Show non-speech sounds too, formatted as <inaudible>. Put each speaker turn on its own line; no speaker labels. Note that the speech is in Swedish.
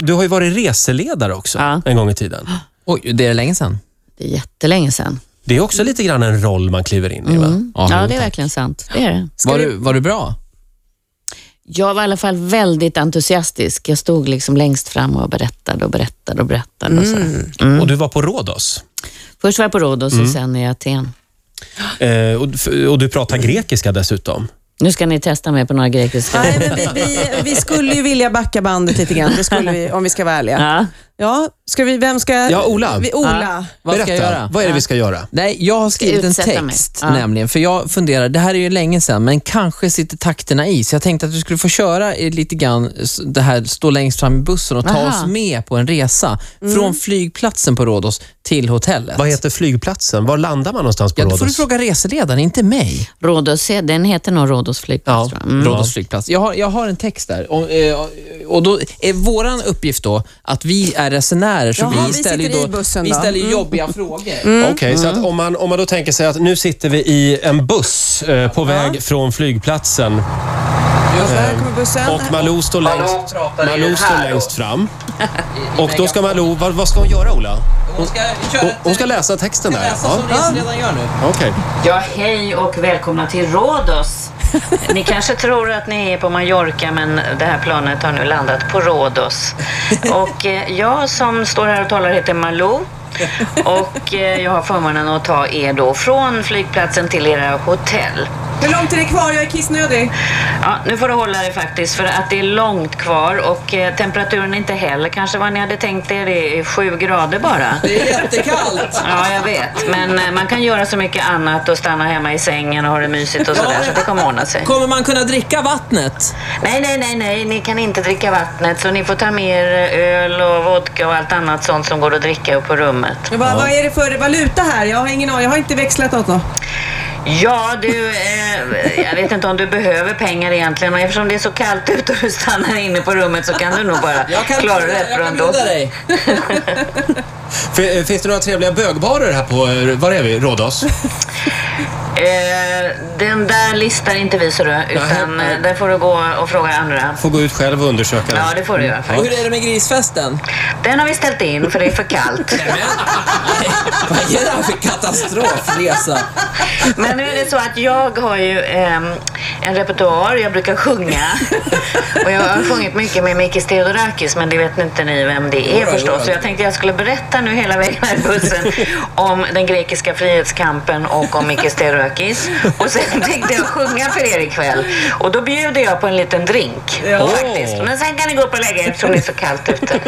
du har ju varit reseledare också
Ja.
en gång i tiden.
Oj, det är länge sedan.
Det är jättelänge sedan.
Det är också lite grann en roll man kliver in i. Va?
Mm.
Ja,
Ja,
jo,
det är
tack.
verkligen sant. Det är det.
Var du, var du bra?
Jag var i alla fall väldigt entusiastisk. Jag stod liksom längst fram och berättade och berättade och berättade. Och sådär.
Mm.
Och du var på Rhodos.
Först var jag på Rhodos och sen i Aten.
Eh, och, f- och du pratar grekiska dessutom.
Nu ska ni testa mig på några grekiska.
Nej, men vi, vi, vi skulle ju vilja backa bandet lite grann, det skulle vi, om vi ska vara ärliga.
Ja.
Ja, ska vi, vem ska...
Ja, Ola.
Vi, Ola.
<laughs> Vad
Berätta,
ska jag göra?
vad är det vi ska göra?
Nej, jag har skrivit en
utsätta mig.
text
Ja.
nämligen, för jag funderar, det här är ju länge sedan, men kanske sitter takterna i, så jag tänkte att du skulle få köra i lite grann s- det här, stå längst fram i bussen och ta
Aha.
oss med på en resa
Mm.
från flygplatsen på Rhodos till hotellet.
Vad heter flygplatsen? Var landar man någonstans på
Ja, då
Rhodos?
får du fråga reseledaren, inte mig.
Rhodos, den heter nog Rhodos flygplats, tror jag. Mm.
Rhodos flygplats. Jag har, jag har en text där. Och, eh, och då är våran uppgift då att vi är resenärer, så
Jaha,
vi
vi
ställer,
sitter
ju
i bussen
vi
då. Mm.
ställer ju jobbiga frågor.
Okej, så
Mm.
att om, man, om man då tänker sig att nu sitter vi i en buss eh, på väg från flygplatsen
Ja, där kommer bussen.
och Malou står
Hallå,
längst,
pratar i
Malou
den
står
här då.
längst
<laughs>
fram. Och då ska Malou, vad, vad ska hon göra Ola?
Hon ska köra
Hon, hon ska läsa texten där?
läsa
Ja,
som reseledaren gör nu.
okej.
Ja, hej och välkomna till Rhodos. Ni kanske tror att ni är på Mallorca, men det här planet har nu landat på Rhodos. Och eh, jag som står här och talar heter Malou. Och eh, jag har förmånen att ta er då från flygplatsen till era hotell.
Hur långt är det kvar? Jag är kissnödig.
Ja, nu får du hålla dig faktiskt för att det är långt kvar och eh, temperaturen är inte heller kanske vad ni hade tänkt er. Det är sju grader bara.
Det är jättekallt.
Ja, jag vet. Men eh, man kan göra så mycket annat och stanna hemma i sängen och ha det mysigt och sådär, så det kommer ordna sig.
Kommer man kunna dricka vattnet?
Nej, nej, nej, nej, ni kan inte dricka vattnet så ni får ta med er öl och vodka och allt annat sånt som går att dricka upp på rummet.
Vad, vad är det för valuta här? Jag har ingen aning. Jag har inte växlat något. då.
Ja, du, eh, jag vet inte om du behöver pengar egentligen och eftersom det är så kallt ute och du stannar inne på rummet så kan du nog bara klara det rätt bra ändå.
Fin- eh, Finns det några trevliga bögbarer här på, eh, var är vi, Rhodos?
Eh, den där listar inte vi, så du, utan
Nej.
eh, där får du gå och fråga andra.
Får gå ut själv och undersöka.
Ja, det får du göra.
Och hur är det med grisfesten?
Den har vi ställt in för det är för kallt.
Vad är det här för katastrofresa?
Men nu är det så att jag har ju ehm, en repertoar, jag brukar sjunga. Och jag har sjungit mycket med Mikis Theodorakis, men det vet inte ni vem det är
Jodå, jodå.
förstås. Så jag tänkte jag skulle berätta nu hela vägen här i bussen om den grekiska frihetskampen och om Mikis Theodorakis. Och sen tänkte jag sjunga för er ikväll. Och då bjuder jag på en liten drink. Faktiskt. Men sen kan ni gå upp och lägga er eftersom det är så kallt ute.